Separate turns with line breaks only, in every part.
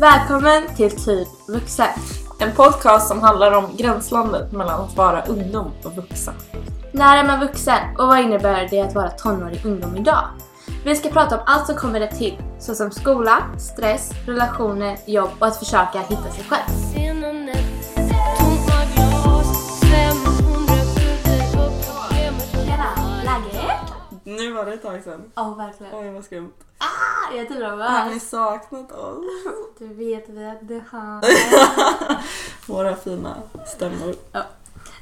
Välkommen till Typ vuxen.
En podcast som handlar om gränslandet mellan att vara ungdom och vuxen.
När är man vuxen och vad innebär det att vara tonårig ungdom idag? Vi ska prata om allt som kommer det till, såsom skola, stress, relationer, jobb och att försöka hitta sig själv. Tjena, läget?
Nu var det ett tag sedan.
Ja, verkligen.
Oj vad skumt.
Ah, jag är
Har ni
nervös.
saknat oss?
Du vet vem du har.
Våra fina stämmor.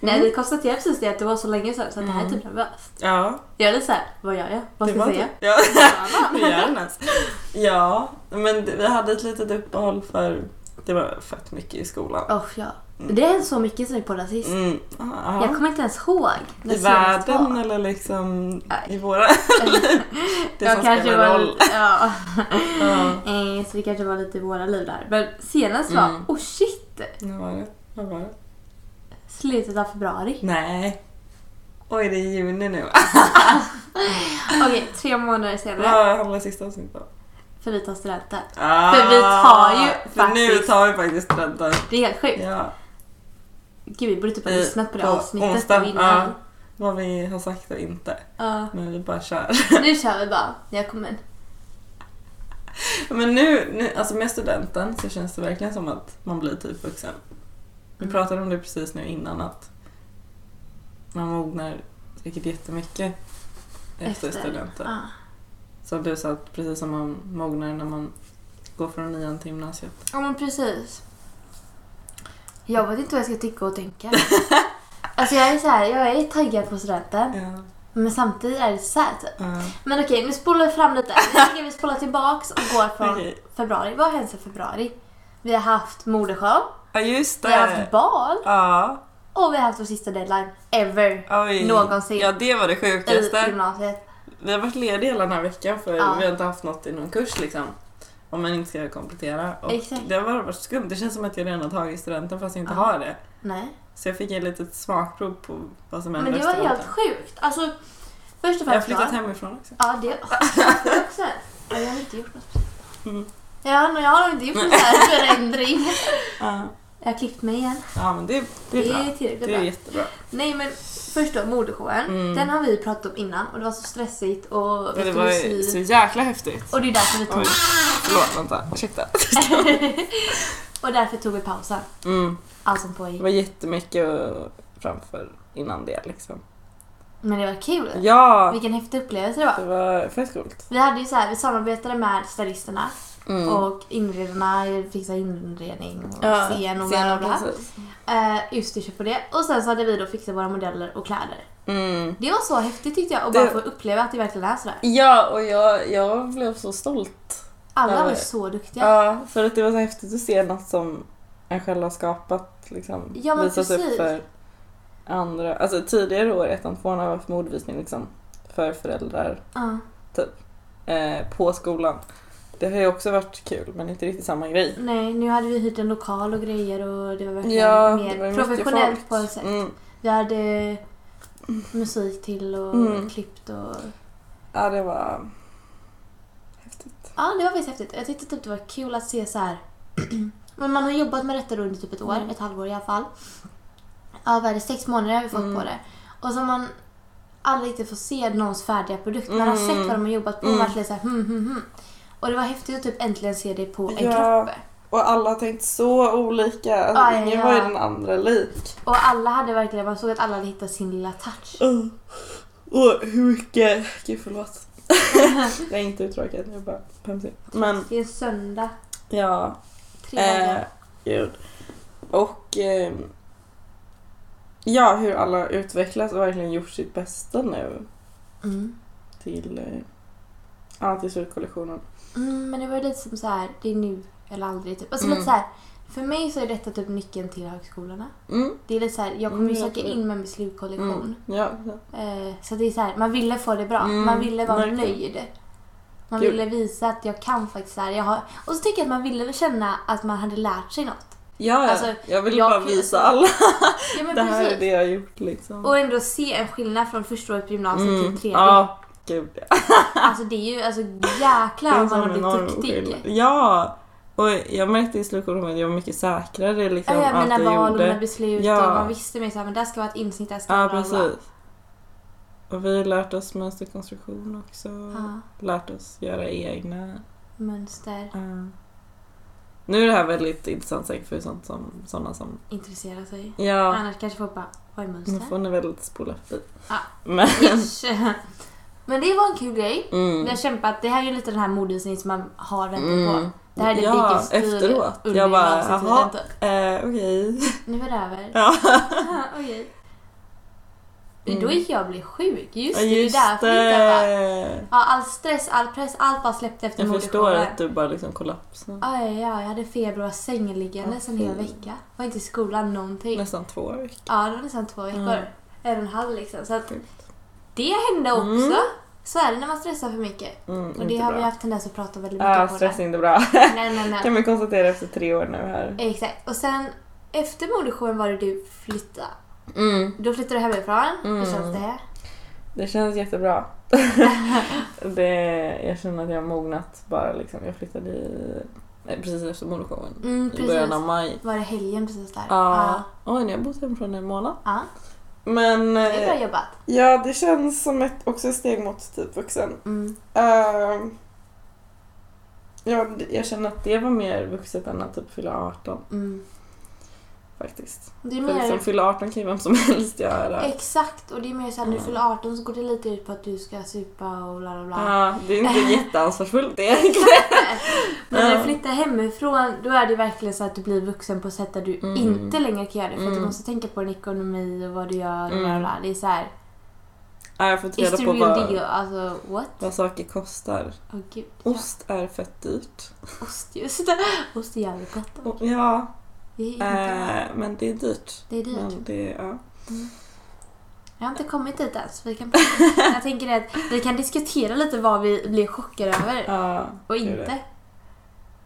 Nej, vi konstaterade precis det att det var så länge sedan så att det här är typ nervöst.
Ja,
Jag är lite såhär, vad gör jag? Vad
det
ska jag
var
säga?
typ- Ja, hur gör den ens? Ja, men det- vi hade ett litet uppehåll för det var fett mycket i skolan.
Åh ja. Mm. Det är så mycket som vi poddade sist.
Mm. ja.
Jag kommer inte ens ihåg. när
I
senast
världen
var.
eller liksom
Nej.
i våra... det
Jag
som
kanske
spelar
var
roll.
lite- Ja.
Ja.
Eh, Så det kanske var lite i våra liv där. Men senast var,
Mm.
oh shit!
Nu var det. Vad var det?
Slutet av februari.
Nej. Oj, det är juni nu.
Okej, tre månader senare.
Vad handlar sista avsnittet om?
För vi tar studenten.
Ah,
För vi tar ju
För nu
faktiskt-
tar vi faktiskt studenten.
Det är helt sjukt.
Ja.
Gud, vi borde typ ha
Eh,
lyssnat på det
på
avsnittet
onsdag,
och innan.
ja. Vad vi har sagt och inte.
Ja.
Men vi bara kör.
Nu kör vi bara. Jag kommer.
Men nu, nu, alltså med studenten så känns det verkligen som att man blir typ vuxen. Vi
Mm.
pratade om det precis nu innan att man mognar säkert jättemycket efter,
Efter.
studenten.
Ah.
Som du sa, att precis som man mognar när man går från nian till gymnasiet.
Ja men precis. Jag vet inte vad jag ska tycka och tänka. alltså jag är så här, jag är taggad på studenten.
Ja.
Men samtidigt är det så här typ.
Ja.
Men okej, nu spolar vi fram lite. Jag tycker vi spolar tillbaks och går från
Okej.
februari. Vad har hänt sedan februari? Vi har haft modershow,
ja, just det!
vi har haft bal
Ja,
och vi har haft vår sista deadline ever
oj.
Någonsin.
Ja, det var det
i
sjukaste.
gymnasiet.
Vi har varit lediga hela den här veckan för
Ja.
vi har inte haft något i någon kurs liksom. Om man inte ska komplettera. Och
Exakt.
Det har bara varit skumt. Det känns som att jag redan har tagit studenten fast jag inte
Ja.
har det.
Nej.
Så jag fick ett litet smakprov på vad som händer
Men det var
efter
helt
studenten.
sjukt. Alltså, först och
Jag har
främst
flyttat
då-
hemifrån också.
Ja, det det också. Ja, jag har inte gjort något speciellt.
Mm.
Ja, men jag har inte gjort någon sån här förändring.
Ja,
Jag har klippt mig igen.
ja men det, det
Det
är
är
bra.
tillräckligt
Det är
bra.
jättebra.
Nej men först då modeshowen.
Mm.
Den har vi pratat om innan och det var så stressigt och
Men
vi
det
skulle
var ju
sy.
så jäkla häftigt.
Och det är därför vi tog,
Oj, förlåt vänta. Ursäkta.
och därför tog vi pausen.
Mm.
Allt som
Det
pågick.
var jättemycket eh, framför innan det liksom.
Men det var kul.
Ja!
Vilken häftig upplevelse det
Det
var.
var fett coolt.
Vi hade ju så här, vi samarbetade med stylisterna
Mm.
och inredarna fixade inredning och scen och bla bla
scen
bla.
precis.
Eh, just det, köp på det. Och sen så hade vi då fixat våra modeller och kläder.
Mm.
Det var så häftigt tyckte jag att bara
Det-
få uppleva att det verkligen är sådär.
Ja, och jag, jag blev så stolt.
Alla
Ja,
var ju
det-
så duktiga.
Ja, för att det var så häftigt att se något som en själv har skapat liksom,
Ja, men
visas
precis.
upp för andra. Alltså tidigare år, ettan, tvåan har vi haft modvisning liksom, för föräldrar
Ja.
eh, på skolan. Det har ju också varit kul, men inte riktigt samma grej.
Nej, nu hade vi hyrt en lokal och grejer och det var verkligen
Ja, det var
mer
ju
professionellt
mycket
på
folk.
ett sätt.
Mm.
Vi hade musik till och
Mm.
klippt och...
Ja, det var häftigt.
Ja, det var faktiskt häftigt. Jag tyckte typ det var kul att se så här. Men man har jobbat med detta då under typ ett år,
Mm.
ett halvår i alla fall. Ja, vad är det? Sex månader har vi fått
Mm.
på det. Och så man aldrig riktigt får se någons färdiga produkt. Man har
Mm.
sett vad de har jobbat på och
Mm.
verkligen så här, hmm, hmm, hmm. Och det var häftigt att typ äntligen se det på en
Ja.
kropp.
Och alla har tänkt så olika. Alltså,
Aj,
ingen
ja.
var ju den andra lik.
Och alla hade verkligen, man såg att alla hade hittat sin lilla touch.
Oh. Och hur mycket... Gud, förlåt. jag är inte uttråkad, jag bara pömsig. Mm, Men
Det är en söndag,
ja,
tre
eh,
dagar.
gud. Och eh, ja, hur alla har utvecklats och verkligen gjort sitt bästa nu
Mm.
till, eh, ja, till slutkollektionen.
Mm, men det var lite som så här, det är nu eller aldrig. Typ. Alltså
Mm.
lite så här, för mig så är detta typ nyckeln till högskolorna.
Mm.
Det är lite så här, jag kommer ju
Mm, jag
söka
tror det.
in med min slutkollektion.
Mm. Ja, ja.
Eh, så det är så här, man ville få det bra.
Mm,
Man ville vara
verkligen.
nöjd. Man
Kul.
ville visa att jag kan faktiskt så här, jag har... Och så tycker jag att man ville känna att man hade lärt sig något.
ja, ja.
Alltså,
jag vill
jag
bara
kan-
visa alla.
Ja men
Det här är
precis.
det jag har gjort liksom.
Och alltså, typ ändå se en skillnad från första året på gymnasiet
Mm.
till tredje.
Ja, gud ja.
Alltså det är ju alltså
Det är
jäklar
en
vad man
sån
har blivit
enorm
duktig.
skillnad. Ja! Och jag märkte i slutkonferensen att jag var mycket säkrare i liksom,
Ja, ja,
allt
mina val
jag
och mina
gjorde.
beslut
Ja.
och man visste mer såhär, men där ska vara ett insnitt, där ska
Ja,
vara
precis. Och vi har lärt oss mönsterkonstruktion också.
Ja,
Lärt oss göra egna.
mönster,
Ja. Nu är det här väldigt intressant säkert för sånt som, sådana som...
intressera sig.
Ja,
Annars kanske folk bara, vad är
nu
mönster?
får ni väl spola förbi.
Ja.
Men,
Yes. Men det var en kul grej.
mm.
Vi har kämpat, det här är ju lite den här modeutsnitt som man har väntat
Mm.
på. Det här är det
ja,
biggest deal
efteråt.
under
Jag bara,
hela avsnittet, vänta.
jaha, eh, okej.
Nu är det över.
Ja.
Ah, Okej.
Mm.
Då gick jag och blev sjuk. Just
Ja,
det,
just
det är därför jag inte har varit-
det.
Ja, all stress, all press, allt bara släppte efter
Jag förstår
modeshowen.
att du bara liksom kollapsade.
Ja, ja, ja, jag hade feber och var sängliggande
Ja,
sen hela
fy.
vecka. Var inte i skolan någonting.
Nästan två veckor.
Ja, det var nästan två veckor.
Mm.
En och en halv liksom. Så att
Sjukt.
det hände också.
Mm.
Så är det när man stressar för mycket.
Mm,
Och det
inte
har
bra.
vi haft tendens att prata väldigt mycket
Ja,
om.
stress är inte bra.
Nej, nej, nej.
kan vi konstatera efter tre år nu här.
Exakt. Och sen efter modeshowen var det du flytta.
Mm.
Då flyttade du hemifrån.
Mm.
Hur känns det?
Det känns jättebra. det, jag känner att jag har mognat bara liksom. Jag flyttade i, nej, precis efter modeshowen.
Mm,
I början av
precis.
maj.
Var det helgen precis där?
Ja. Oj, ni har bott hemifrån i en månad.
Ja.
Men
Ja, Det är
eh,
bra jobbat.
ja, det känns som ett, också ett steg mot typ vuxen.
Mm.
Ehm, ja, det- jag känner att det var mer vuxet än att typ fylla 18
Mm.
faktiskt.
Det är
För liksom,
mer...
fylla 18 kan ju vem som helst göra.
Exakt. Och det är mer såhär, när du
Mm.
fyller 18 så går det lite ut på att du ska supa och bla bla bla.
Ja, det är inte jätteansvarsfullt egentligen.
Men när
Ja.
du flyttar hemifrån då är det verkligen så att du blir vuxen på sätt där du
Mm.
inte längre kan göra det. För att du
Mm.
måste tänka på din ekonomi och vad du gör och
Mm.
bla bla bla. Det är såhär,
Ja, jag har fått
is
reda
the
på
real deal?
vad,
Alltså what?
vad saker kostar.
Åh gud.
Ost är fett dyrt.
Ost just det. Ost är jävligt gott.
Och, ja,
Det är inte bra.
eh, mm. men det är dyrt.
Det är dyrt.
Men det, ja.
Jag har inte kommit dit än så vi kan Jag tänker det att vi kan diskutera lite vad vi blev chockade över
ja
och
det är det.
inte.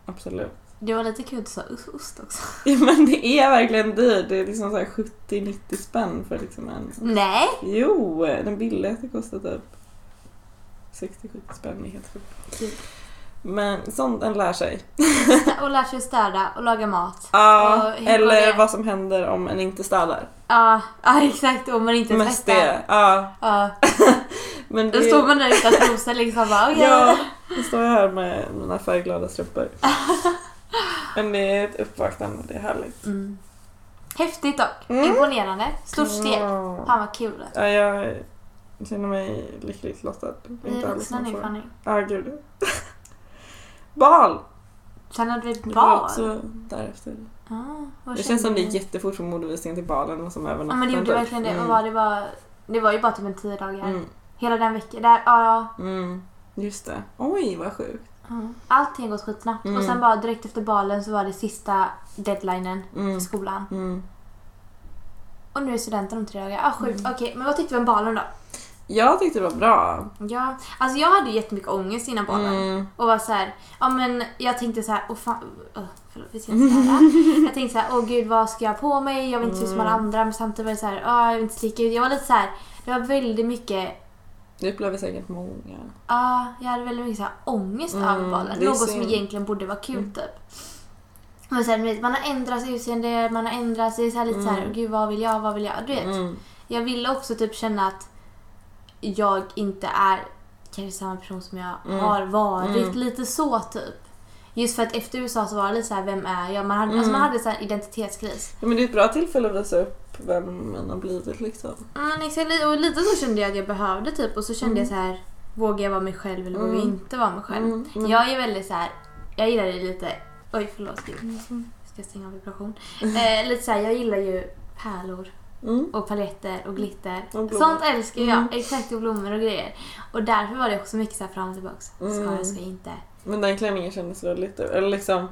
Absolut.
Det var lite kul att du sa os- ost också.
Ja, men det är verkligen dyrt. Det är liksom så här 70-90 spänn för liksom en
Nej!
Jo, den billigaste kostar typ 60-70 spänn. Det är helt sjukt.
Kul.
Men sånt en lär sig.
Och lär sig att städa och laga mat.
Ja,
Och hur går
eller
det?
vad som händer om en inte städar.
Ja, ja, exakt. Om man inte
Mest
tvättar.
det. Ja,
Ja.
men
Då
det...
står man där utan trosor liksom bara okej.
Ja, nu står jag här med mina färgglada strumpor. Men det är ett uppvaknande, det är härligt.
Mm. Häftigt dock.
Mm.
Imponerande. Stort steg.
Ja,
Fan vad kul.
Ja, jag känner mig lyckligt lottad.
Vi
Inte
är
alls
vuxna nu
någon fråga.
Fanny.
Ja, gud. Bal!
Sen hade vi ett
Det var
bal.
också därefter.
Ja, vad
Det känns som det
kände
gick
du?
jättefort från modevisningen till balen och som över
Ja men det gjorde
typ.
verkligen det.
Mm.
Och vad det, var, det var ju bara typ en tio dagar.
Mm.
Hela den veckan. Där, ja,
Mm. Just det. Oj, vad sjukt.
ja. Allting har gått skitsnabbt.
Mm.
Och sen bara direkt efter balen så var det sista deadlinen
Mm.
i skolan.
Mm.
Och nu är studenten om tre dagar. Ah, sjukt.
Mm.
Okej, men vad tyckte vi om balen då?
Jag tyckte det var bra.
Ja, alltså jag hade ju jättemycket ångest innan balen.
Mm.
Och var så här, ja men jag tänkte så här, åh fan, öh, förlåt vi ska inte svära. Jag tänkte så här, åh gud vad ska jag ha på mig? Jag vill inte se ut som alla
Mm.
andra men samtidigt var det så här, åh, jag vill inte sticka ut. Jag var lite så här, det var väldigt mycket,
Det upplever säkert många.
ja jag hade väldigt mycket så här, ångest
Mm,
över balen.
det är
Något som
synd. Mm.
egentligen borde vara kul typ. Men så här, ni vet, man har ändrat utseende, man har ändrat sig så här, lite så här,
Mm.
gud vad vill jag, vad vill jag? Du vet.
Mm.
Jag ville också typ känna att jag inte är kanske samma person som jag
Mm.
har varit.
Mm.
Lite så typ. Just för att efter USA så var det lite såhär, vem är jag? Man hade,
Mm.
alltså man hade så här identitetskris.
Ja, men det är ett bra tillfälle att visa upp vem man har blivit liksom.
Mm, exakt. och lite så kände jag att jag behövde typ. Och så kände
Mm.
jag så här: vågar jag vara mig själv eller vågar jag
Mm.
inte vara mig själv?
Mm, mm.
Jag är väldigt så här. jag gillar det lite, oj förlåt gud.
Mm.
Ska jag stänga av vibration? Eh, lite såhär, jag gillar ju pärlor.
Mm.
och paletter och glitter.
Och blommor.
Sånt älskar jag.
Mm.
Exakt, och blommor och grejer. Och därför var det också mycket så här fram och tillbaka. Ska
Mm.
jag, ska jag inte?
Men den klänningen kändes väldigt... Eller liksom,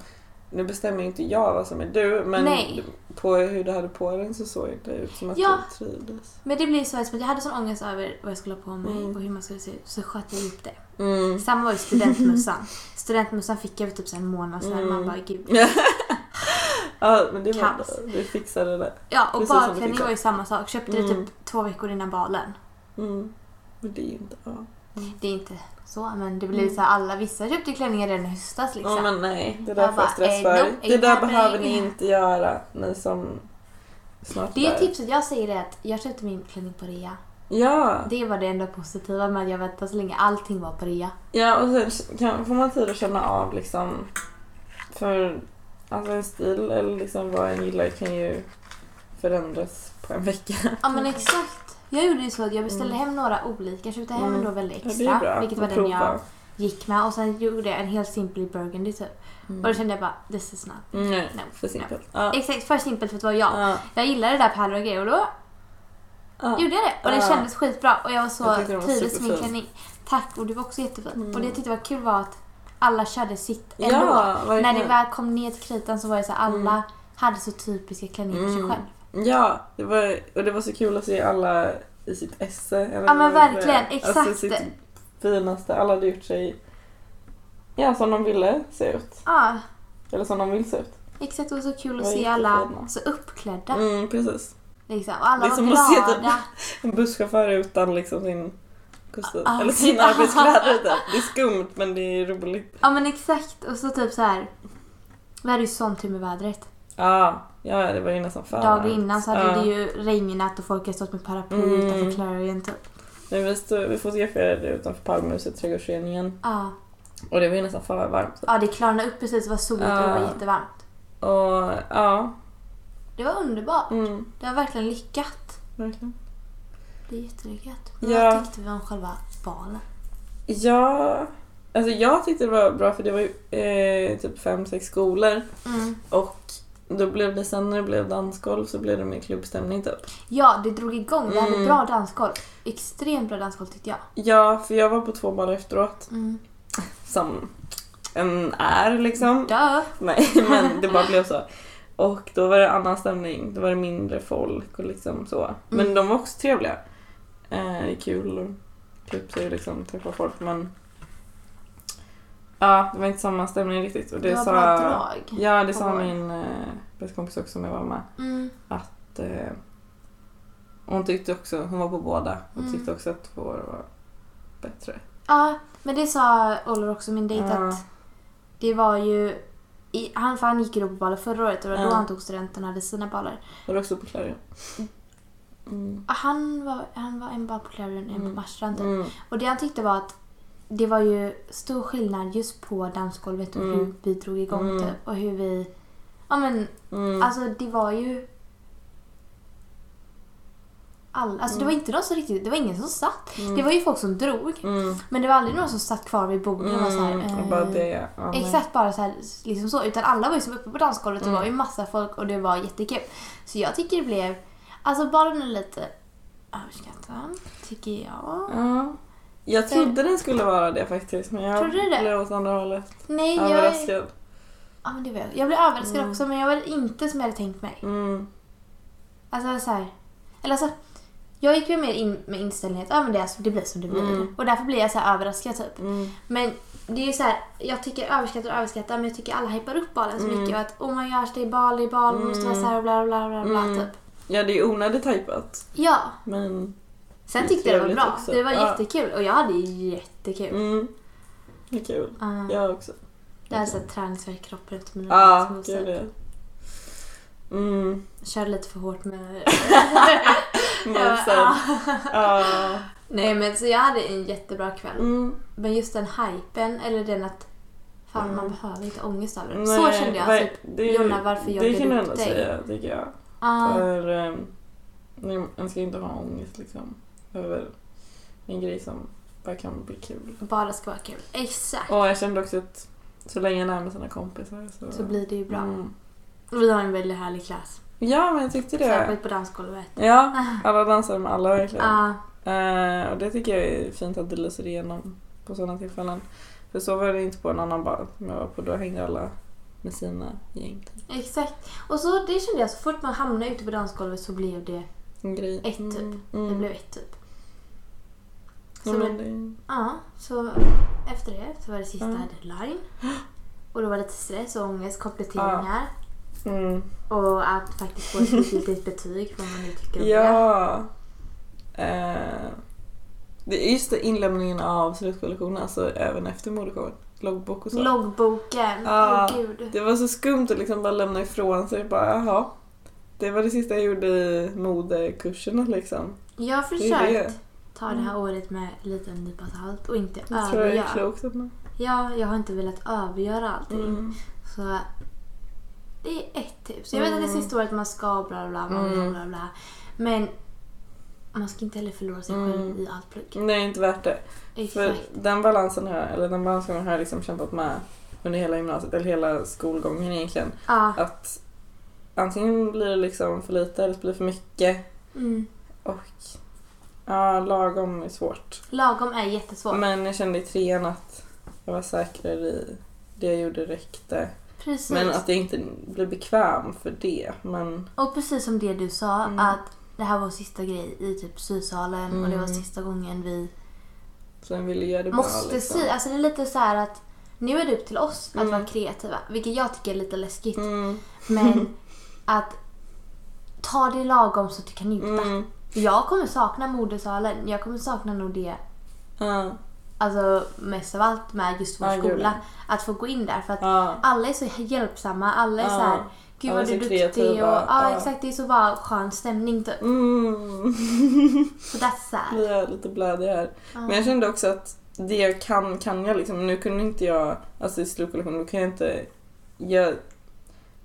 nu bestämmer ju inte jag vad som är du men
Nej.
på hur du hade på den så såg det ut som att
Ja.
du trivdes.
Men det blev så här, som att jag hade sån ångest över vad jag skulle ha på mig
Mm.
och hur man skulle se ut. Så sköt jag upp det.
Mm.
Samma var ju studentmössan. studentmössan fick jag för typ så här en månad sedan.
Mm.
Man bara gud.
Ja, men det var
Kaos.
Vi fixade det.
Ja, och
Precis som du
badklänning
fick
var ju samma sak. Köpte det
Mm.
typ två veckor innan balen.
Mm. Men det är ju inte... Ja. Mm.
Det är inte så, men det blir så här, alla, vissa köpte ju klänningar redan i höstas liksom.
Ja men nej.
Det där
Jag
får jag
bara,
stress
eh,
för.
nope,
det
ain't
där behöver ni
happening.
inte göra, ni som snart
det är typ-
bär.
tipset jag säger är att jag köpte min klänning på rea.
Ja,
Det var det enda positiva med att jag väntade så länge. Allting var på rea.
ja och sen kan, får man tid att känna av liksom för alltså en stil eller liksom vad en gillar kan ju förändras på en vecka.
Ja men exakt. Jag gjorde ju så att jag beställde hem några olika. Jag köpte hem
Mm.
en då väldigt
Ja, det är
extra.
bra
vilket var
att
den jag
prova.
gick med. Och sen gjorde jag en helt simpel burgundy typ. Och då kände jag bara this is not.
Nej,
No.
för simpelt. Mm. Ja.
Exakt, för simpelt för att vara jag.
Ja.
Jag gillade det där pärlor och grejer och då
Ja.
gjorde jag det. Och det
Ja.
kändes skitbra och jag var så
Jag tyckte den var
trivdes med min
superfin.
klänning. Tack och du var också jättefin.
Mm.
Och det jag tyckte var kul var att alla körde sitt ändå.
Ja,
När
verkligen.
det väl kom ner till kritan så var det så här, alla
Mm.
hade så typiska klänningar för sig
Mm.
själv.
Ja, det var, och det var så kul att se alla i sitt esse. eller
Ja, men
vad det
verkligen,
är. Alltså
exakt.
sitt finaste. Alla hade gjort sig ja, som de ville se ut.
Ja,
Eller som de vill se ut.
exakt. Det var så kul att
Det var
se alla
jättefina.
så uppklädda.
Mm, precis.
Liksom. Och alla
Det är
var
som att se typ-
glada.
En busschaufför utan liksom sin kostym.
Ah,
eller sina
ah.
arbetskläder. Typ. Det är skumt men det är roligt.
Ja men exakt. Och så typ så här. Vi hade ju sån tur med vädret.
Ja, ja, det var ju nästan fan.
Dagen innan så hade
Ja.
det ju regnat och folk hade stått med paraply
Mm.
utanför Clarion typ.
Men vi, stod, vi fotograferade utanför Palmehuset, trädgårdsföreningen.
Ja.
Och det var ju nästan för varmt.
ja, det klarnade upp precis. Det var soligt och det var
Ja.
jättevarmt.
Och ja,
Det var underbart.
mm,
Det var verkligen lyckat.
verkligen.
Det är jättelyckat.
Ja.
Vad tyckte vi om själva valen?
Ja, alltså jag tyckte det var bra för det var ju eh, typ fem, sex skolor
Mm.
och då blev det sen när det blev dansgolv så blev det mer klubbstämning typ.
Ja, det drog igång. Vi hade
Mm.
bra dansgolv. Extremt bra dansgolv tyckte jag. Mm.
Ja, för jag var på två baller efteråt som en är liksom.
Dö.
Nej, men det bara blev så. Och då var det annan stämning, då var det mindre folk och liksom så. Men
Mm.
de var också trevliga. Eh, det är kul att klä upp sig och liksom träffa folk men Ja, det var inte samma stämning riktigt. Och det,
Det var
sa...
bra drag.
Ja, det
på
sa
vår.
min eh, bästa kompis också som jag var med.
Mm.
Att, eh, hon tyckte också, hon var på båda, hon
Mm.
tyckte också att vår var bättre.
Ja, men det sa Oliver också, min dejt,
Ja.
att det var ju... I, han, för han gick ju då på baller förra året och det var
Ja.
då han tog studenten och hade sina baller.
Var du också på Clarion? Mm.
Ah, Han var, han var en ball på Clarion och en
Mm.
på Marstrand typ.
Mm.
Och det han tyckte var att det var ju stor skillnad just på dansgolvet och
Mm.
hur vi drog igång
Mm.
typ. Och hur vi... Ja men
Mm.
Alltså det var ju... All, alltså det var inte någon som riktigt, det var ingen som satt.
Mm.
Det var ju folk som drog.
Mm.
Men det var aldrig någon som satt kvar vid bordet och var så här,
Mm.
eh,
Och bara det, ja, men-
Exakt bara så här, liksom så. Utan alla var ju som uppe på dansgolvet och det
Mm.
var ju massa folk och det var jättekul. Så jag tycker det blev, alltså bara nu lite ah, överskattad tycker jag.
Ja. Jag trodde den skulle vara det faktiskt men jag
Trodde du det?
blev åt andra hållet.
Nej, jag,
Överraskad.
ja, men det var, jag. jag blev överraskad
Mm.
också men jag var inte som jag hade tänkt mig.
Mm.
Alltså så här, eller alltså, jag gick ju mer in med inställningen att ah, men det, är så- det blir som det blir.
Mm.
Och därför blir jag så här överraskad typ.
Mm.
Men det är ju så här, jag tycker överskattar och överskattar men jag tycker alla hypar upp balen så
Mm.
mycket. Och att oh my gosh, det är bal, det är bal, det måste vara så här och bla bla bla bla
Mm.
typ.
Ja, det är onödigt tajpat
Ja.
men...
Sen
Det är
tyckte jag det var
trevligt
bra.
också.
Det var
Ja.
jättekul och jag hade ju jättekul.
Mm. Det är kul.
Ah,
Jag också.
det hade sett träningsvärk kroppen ut mina
Ja,
dansmoves,
det är
typ.
det. Mm,
Körde lite för hårt med...
momsen.
Ja.
Ja.
Nej men så jag hade en jättebra kväll.
Mm.
Men just den hypen, eller den att fan
Mm.
man behöver inte ångest över det. så
Nej,
kände jag.
var-
Typ.
det,
Jonna, varför jag
Det
bjöd
kan du
upp
ändå
dig.
säga, tycker jag.
Ah,
För ehm, nej, man ska inte ha ångest liksom över en grej som bara kan bli kul.
bara ska vara kul. Exakt.
Och jag kände också att så länge jag är med sina kompisar så...
Så blir det ju bra.
Mm.
Vi har en väldigt härlig klass.
Ja, men jag tyckte det.
Särskilt på dansgolvet.
Ja, alla dansar med alla verkligen.
Ah,
Eh, och det tycker jag är fint att det lyser igenom på sådana tillfällen. För så var det inte på en annan bar som jag var på. Då hängde alla med sina gäng. typ.
exakt. Och så det kände jag, så fort man hamnade ute på dansgolvet så blev det,
En grej.
Ett typ.
Mm.
det blev ett typ. Så,
ja,
ja,
men det...
så efter det så var det sista
Mm.
deadline. Och då var det lite stress och ångest, kompletteringar
mm.
och att faktiskt få ett slutgiltigt betyg vad man nu tycker om det.
Ja. Eh, Det är just det, inlämningen av slutkollektionen, alltså även efter modeshowen. Loggbok och så.
Loggboken. Åh
Ja.
gud.
det var så skumt att liksom bara lämna ifrån sig. Bara, jaha. Det var det sista jag gjorde i modekurserna liksom.
Jag har
Det är det.
försökt ta det här året med en liten nypa salt och inte
Jag tror jag är
övergöra.
klokt att man...
Ja, jag har inte velat övergöra allting.
Mm.
Så det är ett tips. Jag vet att det är
Mm.
sista året man ska bla bla bla, bla, bla,
Mm.
bla, bla. Men man ska inte heller förlora sig själv
Mm.
i allt plugg.
Nej, inte värt det. För
Exakt.
den balansen har, eller den balansen har jag liksom kämpat med under hela gymnasiet, eller hela skolgången egentligen.
Ja.
Att antingen blir det liksom för lite eller så blir det för mycket.
Mm.
Och ja, lagom är svårt.
Lagom är jättesvårt.
Men jag kände i trean att jag var säkrare i det jag gjorde räckte.
Precis.
Men att jag inte blev bekväm för det. Men
Och precis som det du sa
Mm.
att det här var sista grej i typ sysalen och det var
Mm.
sista gången vi
sen ville jag göra det
måste
bra. Liksom.
sy. Alltså det är lite så här att nu är det upp till oss
Mm.
att vara kreativa. Vilket jag tycker är lite läskigt.
Mm,
Men att ta det lagom så att du kan njuta.
mm,
Jag kommer sakna modesalen. Jag kommer sakna nog det
ja,
alltså, mest av allt med just vår
Ja, gud,
skola.
ja.
Att få gå in där. För att
ja.
alla är så hjälpsamma. Alla är
Ja.
så här, gud
Alla
vad
är
du är
så
duktig. Och,
kreativa,
ja,
ja.
exakt. Det är så bara skön stämning typ.
Mm.
Så det är så här.
Vi är lite blödiga här.
Ja.
Men jag kände också att det jag kan, kan jag liksom. Nu kunde inte jag, alltså i slutkollektionen, då kan jag inte... Jag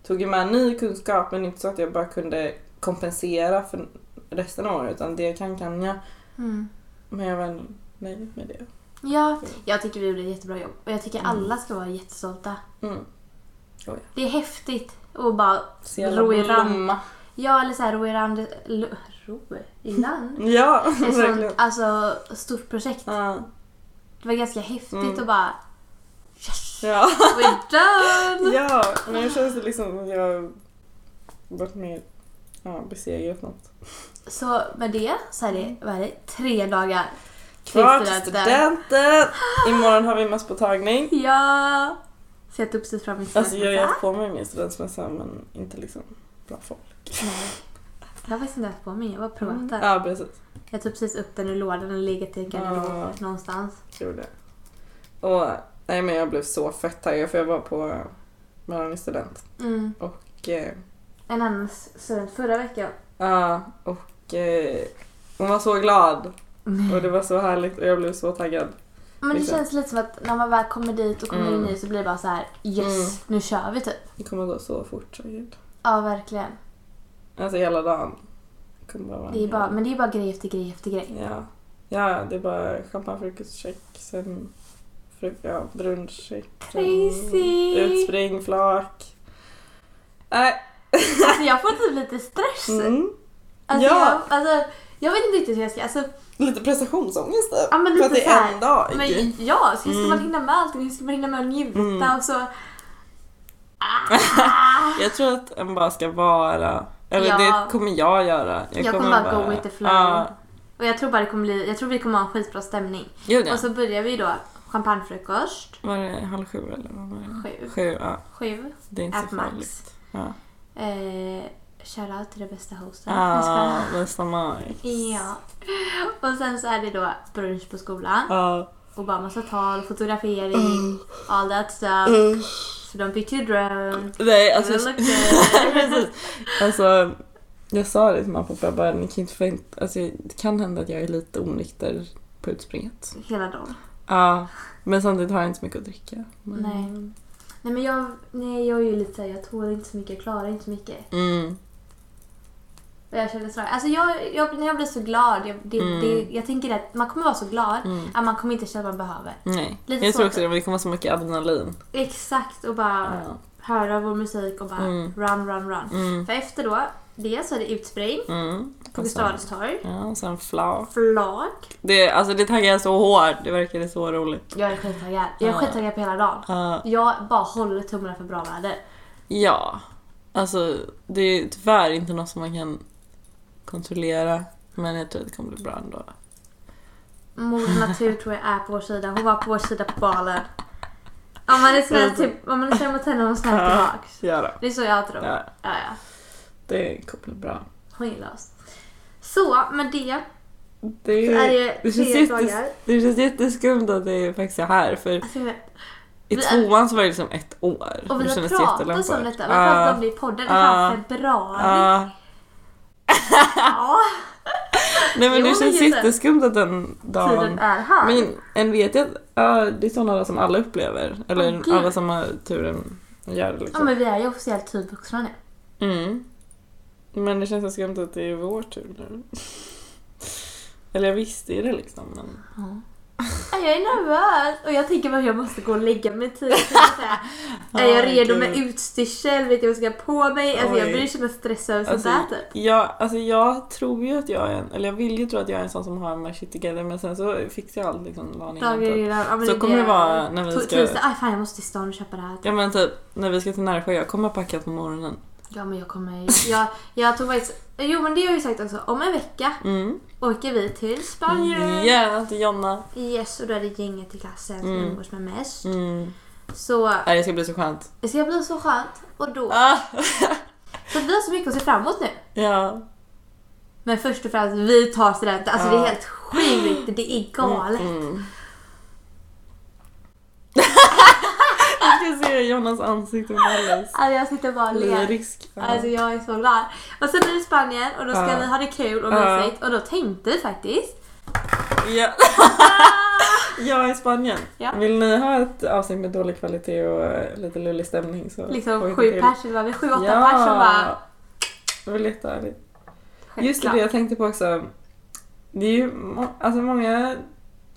tog ju med ny kunskap men inte så att jag bara kunde kompensera för resten av året utan det jag kan kan jag.
Mm.
Men jag var nöjd med det.
ja, jag tycker vi gjorde ett jättebra jobb. Och jag tycker alla ska vara jättestolta.
Mm.
Det är häftigt att bara
Så jävla
Ro i ramp.
blomma.
Ja, eller så här, ro i land. lo- Ro i land?
Ja,
Ett
verkligen.
sånt alltså, stort projekt.
Ja.
Det var ganska häftigt
Mm.
att bara Yes!
Ja.
We're done!
ja, men nu känns det liksom att jag varit med ja, besegrat något.
Så med det så är
Mm.
det, vad är det tre dagar
Kvar till studenten! Imorgon har vi masspåtagning.
Ja! Så jag tog precis fram min
Alltså jag
studentmössa.
har gett på mig min studentmössa men inte liksom bland folk.
Nej. Jag har faktiskt inte haft på mig, jag bara provat den.
Mm. Ja precis,
Jag tog precis upp den ur lådan och legat i en garderob
Ja.
någonstans.
kul det. Och nej men jag blev så fett taggad för jag var på Maran i student.
Mm.
Och, eh,
En annan s- student förra veckan.
ja, och eh, hon var så glad och det var så härligt och jag blev så taggad.
Men det
Exakt.
känns lite som att när man väl kommer dit och kommer
Mm.
in i det så blir det bara så här: yes, nu kör vi typ.
Det kommer gå så fort säkert.
Ja, verkligen.
Alltså hela dagen. Det kommer bara vara
Det är
en
bara,
hel-
men det är bara grej efter grej efter grej.
Ja. ja, det är bara champagnefrukostcheck, sen fruk- ja, brunchcheck, sen
Crazy!
utspring, flak. Nej,
Alltså jag får typ lite stress.
Mm.
Alltså,
Ja.
jag, alltså, jag vet inte riktigt hur jag ska... Alltså,
Lite prestationsångest där.
Ja, men
för
lite
att det
så här.
är en dag.
men, ja, så hur ska
Mm.
man hinna med allting? Hur ska man hinna med att njuta?
Mm.
Och så... Ah!
Jag tror att en bara ska vara... Eller
Ja.
det kommer jag göra.
Jag kommer bara go with the flow.
Ja,
Och jag tror bara det kommer bli... Jag tror vi kommer ha en skitbra stämning.
gud ja.
Och så börjar vi då champagnefrukost.
Var det halv sju eller vad var det?
Sju.
Sju, ja.
Sju.
Det är inte
At
så farligt.
max.
Ja.
Eh, Shoutout till den bästa hosten. Jag
Ja,
skojar.
men samma.
Ja. Och sen så är det då brunch på skolan.
Ja.
Och bara massa tal, fotografering,
Mm.
all that stuff. Så de fick ju drone.
Nej, alltså...
Det look good.
Precis. alltså jag sa det till mamma och pappa, jag bara, ni kan inte förvänta... Alltså, det kan hända att jag är lite onykter på utspringet.
Hela dagen.
Ja, men samtidigt har jag inte så mycket att dricka. Men... ehm,
Nej. Nej men jag, nej, jag är ju lite såhär, jag tål inte så mycket, jag klarar inte så mycket.
Mm.
Och jag känner sådär, alltså jag, jag, när jag blir så glad, jag, det,
Mm.
det, jag tänker att man kommer vara så glad
Mm.
att man kommer inte känna att man behöver.
Nej,
Lite
jag
så
tror
att-
också det. men Det kommer vara så mycket adrenalin.
Exakt och bara
Ja.
höra vår musik och bara
Mm.
run, run, run.
Mm.
För efter då, det så är det utspring
Mm.
på
Och sen-
Gustav Adolfs torg,
Ja, och sen flak.
flak.
Det, alltså, det taggar jag så hårt. Det verkade så roligt.
Jag är skittaggad. Jag är
Ja.
skittaggad på hela dagen.
Ja.
Jag bara håller tummarna för bra väder.
ja, alltså det är tyvärr inte något som man kan kontrollera. Men jag tror att det kommer bli bra ändå.
Moder natur tror jag är på vår sida. Hon var på vår sida på balen. Om man är snäll, typ, om man är snäll mot henne är hon snäll
Ja.
tillbaks.
Ja, då.
Det är så jag tror. Ja,
ja
ja.
det kommer bli bra.
Hon gillar oss. Så, med det
Det,
Så är
är,
det
det känns
tre
jättes-
dagar.
det känns jätteskumt att det faktiskt är här för
Alltså, jag vet.
i
Vi-
tvåan så var det liksom ett år.
Och vi
det
har
kändes
pratat
jättelämpligt.
om detta. Vi
Ja,
pratade om det i podden i fan
Ah.
februari.
ja.
Ja,
Nej men
Jo,
det
men
känns
just det.
jätteskumt att den
tiden
dagen...
är här.
Men en vet jag att ja, det är sådana dagar som alla upplever. Eller
Åh, gud.
alla som har turen gör det
Ja
liksom.
men vi är ju officiellt typ vuxna nu.
Mm. Men det känns så skumt att det är vår tur nu. Eller jag visste ju det liksom men...
Ja, Jag är nervös och jag tänker bara jag måste gå och lägga mig tidigt. Jag är så här, Är jag redo
Herregud.
med utstyrsel? Vet jag vad jag ska ha på mig? Alltså jag
Oj.
blir som stressad över sånt
Alltså,
där typ.
jag, alltså jag tror ju att jag är en, eller jag vill ju tro att jag är en sån som har my shit together men sen så fixar jag allt liksom dagen innan.
Dagar
typ.
innan. Ja, men
Så
är
kommer det vara när vi
To-
ska-
Tuesday, aj fan jag måste till stan och köpa det här.
Ja men typ när vi ska till Närsjö, jag kommer packat på morgonen.
Ja men jag kommer... Jag, jag tog faktiskt... Jo men det har jag ju sagt också. Om en vecka
Mm.
åker vi till Spanien.
Gärna till Jonna.
Yes och då är det gänget i klassen som
Mm.
umgås med mest.
Mm.
Så
Nej, det ska bli så skönt.
det ska bli så skönt. Och då...
Ah.
Så vi har så mycket att se fram emot nu.
Ja.
Men först och främst, vi tar studenten. Alltså det
Ja.
är helt sjukt. Det är galet.
Mm. jag ska se Jonas ansikte på alldeles
Alltså jag sitter bara och ler.
lyrisk.
Alltså jag är så glad. Och sen är det Spanien och då ska
Ja.
vi ha det kul och
Ja.
mysigt. Och då tänkte vi faktiskt...
Ja. Jag är i Spanien.
Ja.
Vill ni ha ett avsnitt med dålig kvalitet och eh, lite lullig stämning så får vi
Liksom
ta till.
sju pers, eller vad vi är, sju, åtta
ja.
pers som bara...
Det var lite härligt. Just det,
självklart.
det jag tänkte på också. Det är ju må- alltså många...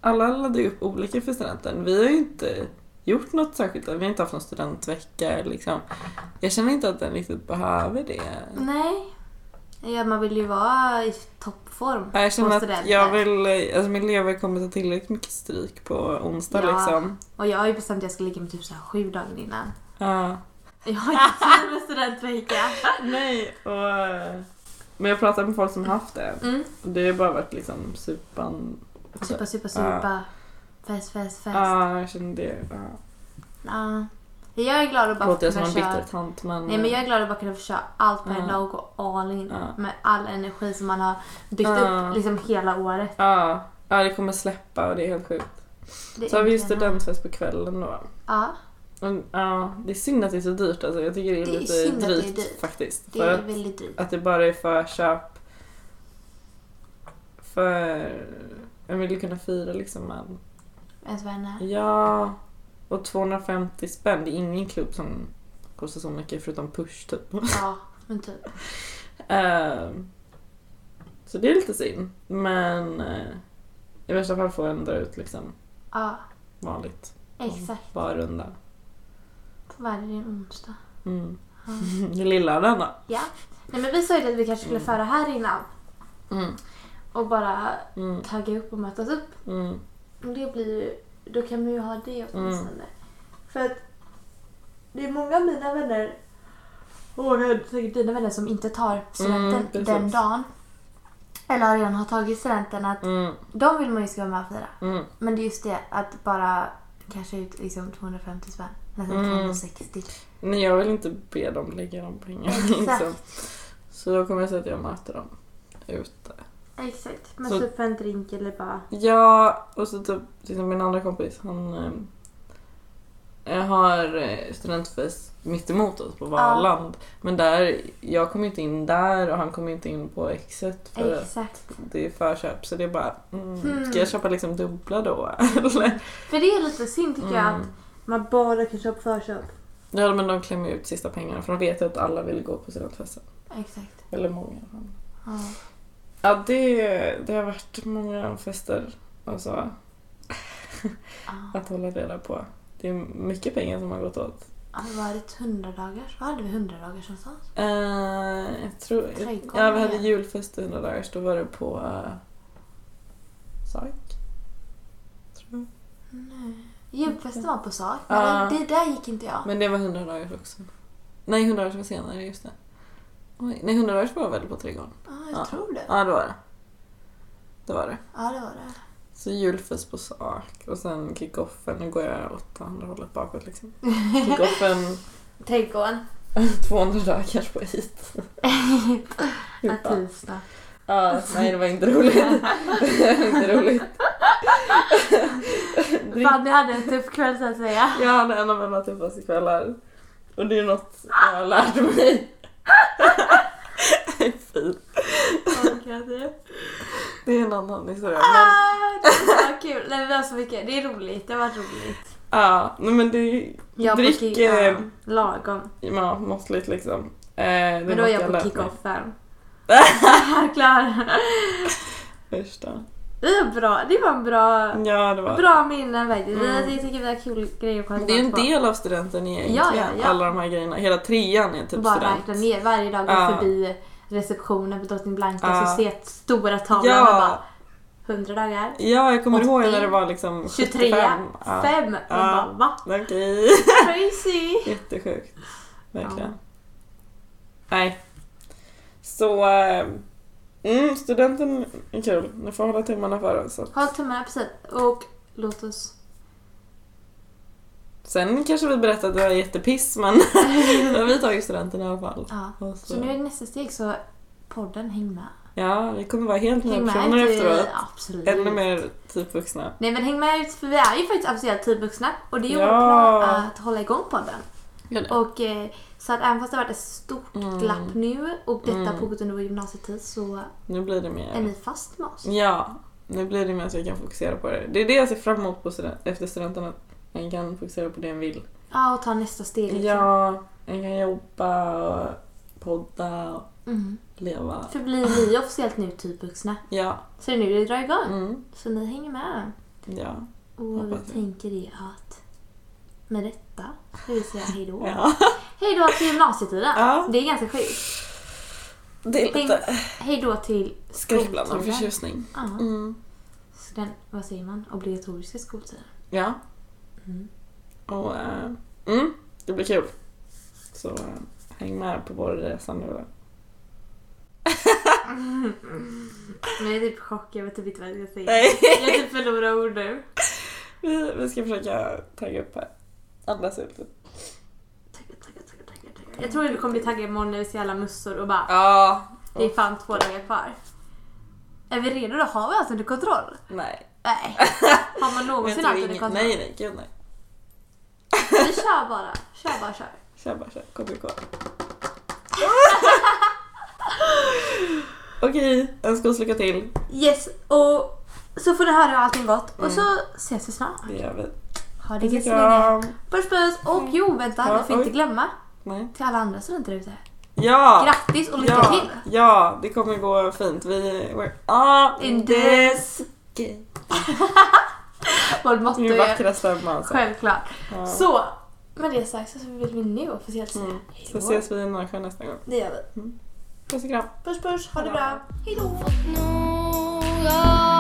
Alla laddar ju upp olika för studenten. Vi har ju inte gjort något särskilt. Vi har inte haft någon studentvecka liksom. Jag känner inte att den riktigt behöver det.
Nej. Ja, man vill ju vara i toppform
Jag
på
känner att
studenten.
jag vill... Alltså min lever kommer ta tillräckligt mycket stryk på onsdag
Ja.
liksom.
Och jag har ju bestämt att jag ska ligga med typ så här sju dagar innan.
Ja.
Jag har inte tid med studentvecka.
Nej, och... eh, Men jag pratar med folk som har haft det.
Mm.
Och Det har bara varit liksom supan...
Supa, supa, supa. Fest, fest, fest.
Ja, jag känner det. Ja.
Ja. Jag är glad att bara
Låter jag som
kunna
en
köra...
bitter tant men...
Nej men jag är glad att bara kunna försöka allt på en
Ja.
dag och gå all in
Ja.
med all energi som man har byggt
Ja.
upp liksom hela året.
Ja, ja, det kommer släppa och det är helt sjukt.
Det
Så har vi ju
är-
studentfest på kvällen då.
Ja,
Men, Ja, det är synd att det är så dyrt alltså. Jag tycker det är
Det är
lite
synd att det är
drygt
dyrt.
faktiskt.
det
För
är
att,
väldigt dyrt.
att det bara är förköp. För... Jag vill ju kunna fira liksom med
Ens vänner.
Ja, och 250 spänn. Det är ingen klubb som kostar så mycket förutom push typ.
Ja, men typ.
Ehm, så det är lite synd. Men eh, i värsta fall får jag ändå ut liksom
Ja,
vanligt.
exakt.
Barrunda.
På varje onsdag.
Mm.
Ja.
Det lilla den då.
Ja. Nej men vi sa ju att vi kanske skulle föra här innan
Mm.
och bara
Mm.
tagga upp och mötas upp.
Mm.
Och Det blir ju, då kan man ju ha det åtminstone.
Mm.
För att det är många av mina vänner, och säkert dina vänner som inte tar
Mm,
studenten
precis.
den dagen. Eller redan har tagit studenten. Att
Mm.
De vill man ju ska vara med och fira.
Mm.
Men det är just det att bara kanske ut liksom 250 spänn. Nästan
Mm.
260.
Nej, jag vill inte be dem lägga de pengarna.
Exakt.
Liksom. Så då kommer jag säga att jag möter dem ute.
Exakt. Men
Så-
typ för en drink eller bara...
Ja, och så typ liksom min andra kompis han eh, har eh, studentfest mitt emot oss på Valand. Men där, jag kom ju inte in där och han kom ju inte in på exet för
Exakt.
det är förköp. Så det är bara, mm,
Hmm.
ska jag köpa liksom dubbla då? Eller?
För det är lite synd tycker jag
Mm.
att man bara kan köpa förköp.
Ja men de klämmer ut sista pengarna för de vet ju att alla vill gå på studentfesten.
Exakt.
Eller många. i alla fall.
Ja.
Ja det, det har varit många fester och så
Ja.
att hålla reda på. Det är mycket pengar som har gått åt.
Har Alltså, det varit 100 dagar? Vad hade vi 100 dagar någonstans?
Eh, jag tror...
Trädgården,
Ja, vi hade
ja.
julfest i 100 dagars. Då var det på... Uh, SAK? Tror jag.
Julfesten var på sak.
Ja.
Nej, det där gick inte jag.
Men det var 100 dagars också. Nej, 100 dagars var senare, just det. Oj, nej, 100 dagars var väl på Trädgården?
Ja, jag
Ja.
tror det.
Ja, det var det. Det var det.
Ja, det var det.
Så julfest på SAK och sen kickoffen. Nu går jag åt andra hållet bakåt liksom. Kickoffen
Trädgården.
200 dagars på hit.
typ. Ja, tisdag.
Ja, nej det var inte roligt. det var inte roligt. Drick-
Fanny hade en tuff kväll så att säga.
Jag hade en av mina tuffaste kvällar. Och det är något jag lärde mig. Nej, Fy. Det är en annan historia. Men,
Ah, det var kul. Nej, men det var så mycket. Det är roligt. Det har varit roligt.
ja, nej, men det är
Jag var på
Drick,
kick-
eh,
ja, lagom.
ja, måttligt liksom. Eh, det är
Men då är
något
jag på
lärt mig.
kick-off där. Klar.
Första.
Det var bra. Det var en bra,
Ja, det var
bra minnen faktiskt.
Mm.
Vi, jag tycker vi har kul grejer på
Men Det är ju en del av studenten egentligen.
Ja, ja, ja.
Alla de här grejerna. Hela trean är typ
Bara
student.
räkna ner. Varje dag går
Ja.
förbi receptionen på Drottning Blanka
Ja.
så ser jag stora tavlan och
Ja,
bara 100 dagar.
ja, jag kommer
80,
ihåg när det var liksom
23,
75.
5.
Ja.
Man
Ja.
bara va?
Okej.
Crazy!
Jättesjukt. Verkligen. Nej. Så... eh, Mm, studenten är kul. Ni får hålla tummarna för oss.
Håll tummarna precis. Och låt oss...
Sen kanske vi berättar att det var jättepiss men då har vi tagit studenten i alla fall.
Ja.
Och så-
Så nu är det nästa steg så podden häng med.
Ja, vi kommer vara helt nya
Häng med
personer
ut i-
efteråt.
Absolut.
Ännu mer typ vuxna.
Nej men häng med ut för vi är ju faktiskt officiellt tidvuxna och det är ju
Ja.
vår plan att hålla igång podden.
Ja, det-
Och eh, så att även fast det har varit ett stort
Mm.
glapp nu och detta
Mm.
har pågått under vår gymnasietid så
Nu blir det
är
mer...
ni fast med oss.
Ja, nu blir det mer så jag kan fokusera på det. Det är det jag ser fram emot på student- efter studenten. Att man kan fokusera på det man vill.
Ja och ta nästa steg liksom.
Ja, en kan jobba och podda och
Mm.
leva.
För blir ni officiellt nu tidvuxna
Ja.
så är det nu det drar igång.
Mm.
Så ni hänger med.
Ja.
Och vi
Hoppas det.
tänker det att med detta ska vi säga hejdå.
ja.
Hejdå till gymnasietiden.
Ja.
Det är ganska sjukt.
Det är
Tänk,
lite
hejdå till
skräckblandad
skoltiden.
förtjusning.
Ja.
Mm.
Så Den, vad säger man? Obligatoriska skoltiden.
Ja.
Mm.
Och, eh, mm, det blir kul. Så eh, häng med på vår resa nu då.
Men jag är typ chockad, jag vet typ inte vad jag ska säga.
Nej.
Jag typ förlorar ord nu.
Vi, vi ska försöka tagga upp här. Andas ut lite.
Tackar, tackar, tackar, tackar, tackar. Jag tror att vi kommer bli taggade imorgon när vi ser alla mussor och bara
Ja.
det är fan två dagar kvar. Är vi redo då? Har vi allt under kontroll?
Nej.
Nej. Har man
Men
någonsin
jag tror
allt under
ingen-
kontroll?
Nej, nej, gud nej.
Vi kör bara. Kör bara, kör.
Kör bara, kör. KBK. Okej, önskar oss lycka till.
Yes, och så får ni höra hur allting gått och så
Mm.
ses vi snart.
Det gör vi.
Ha det gött så länge.
Ja.
Puss puss! Och jo, vänta,
Mm. Ja,
vi får inte
oj.
glömma
Nej.
till alla andra studenter ute.
Ja!
Grattis och lycka
ja,
till!
Ja, det kommer gå fint. Vi... We're all in
In
this!
Vårt motto
Min
är
vackra stämma alltså.
självklart.
Ja.
Så, med det sagt så vill vi nu officiellt säga
Mm. Så
hejdå.
ses vi i Norrsjö nästa gång.
Det gör vi.
Puss och kram!
Puss puss, ha det bra. Hejdå!
fått nog av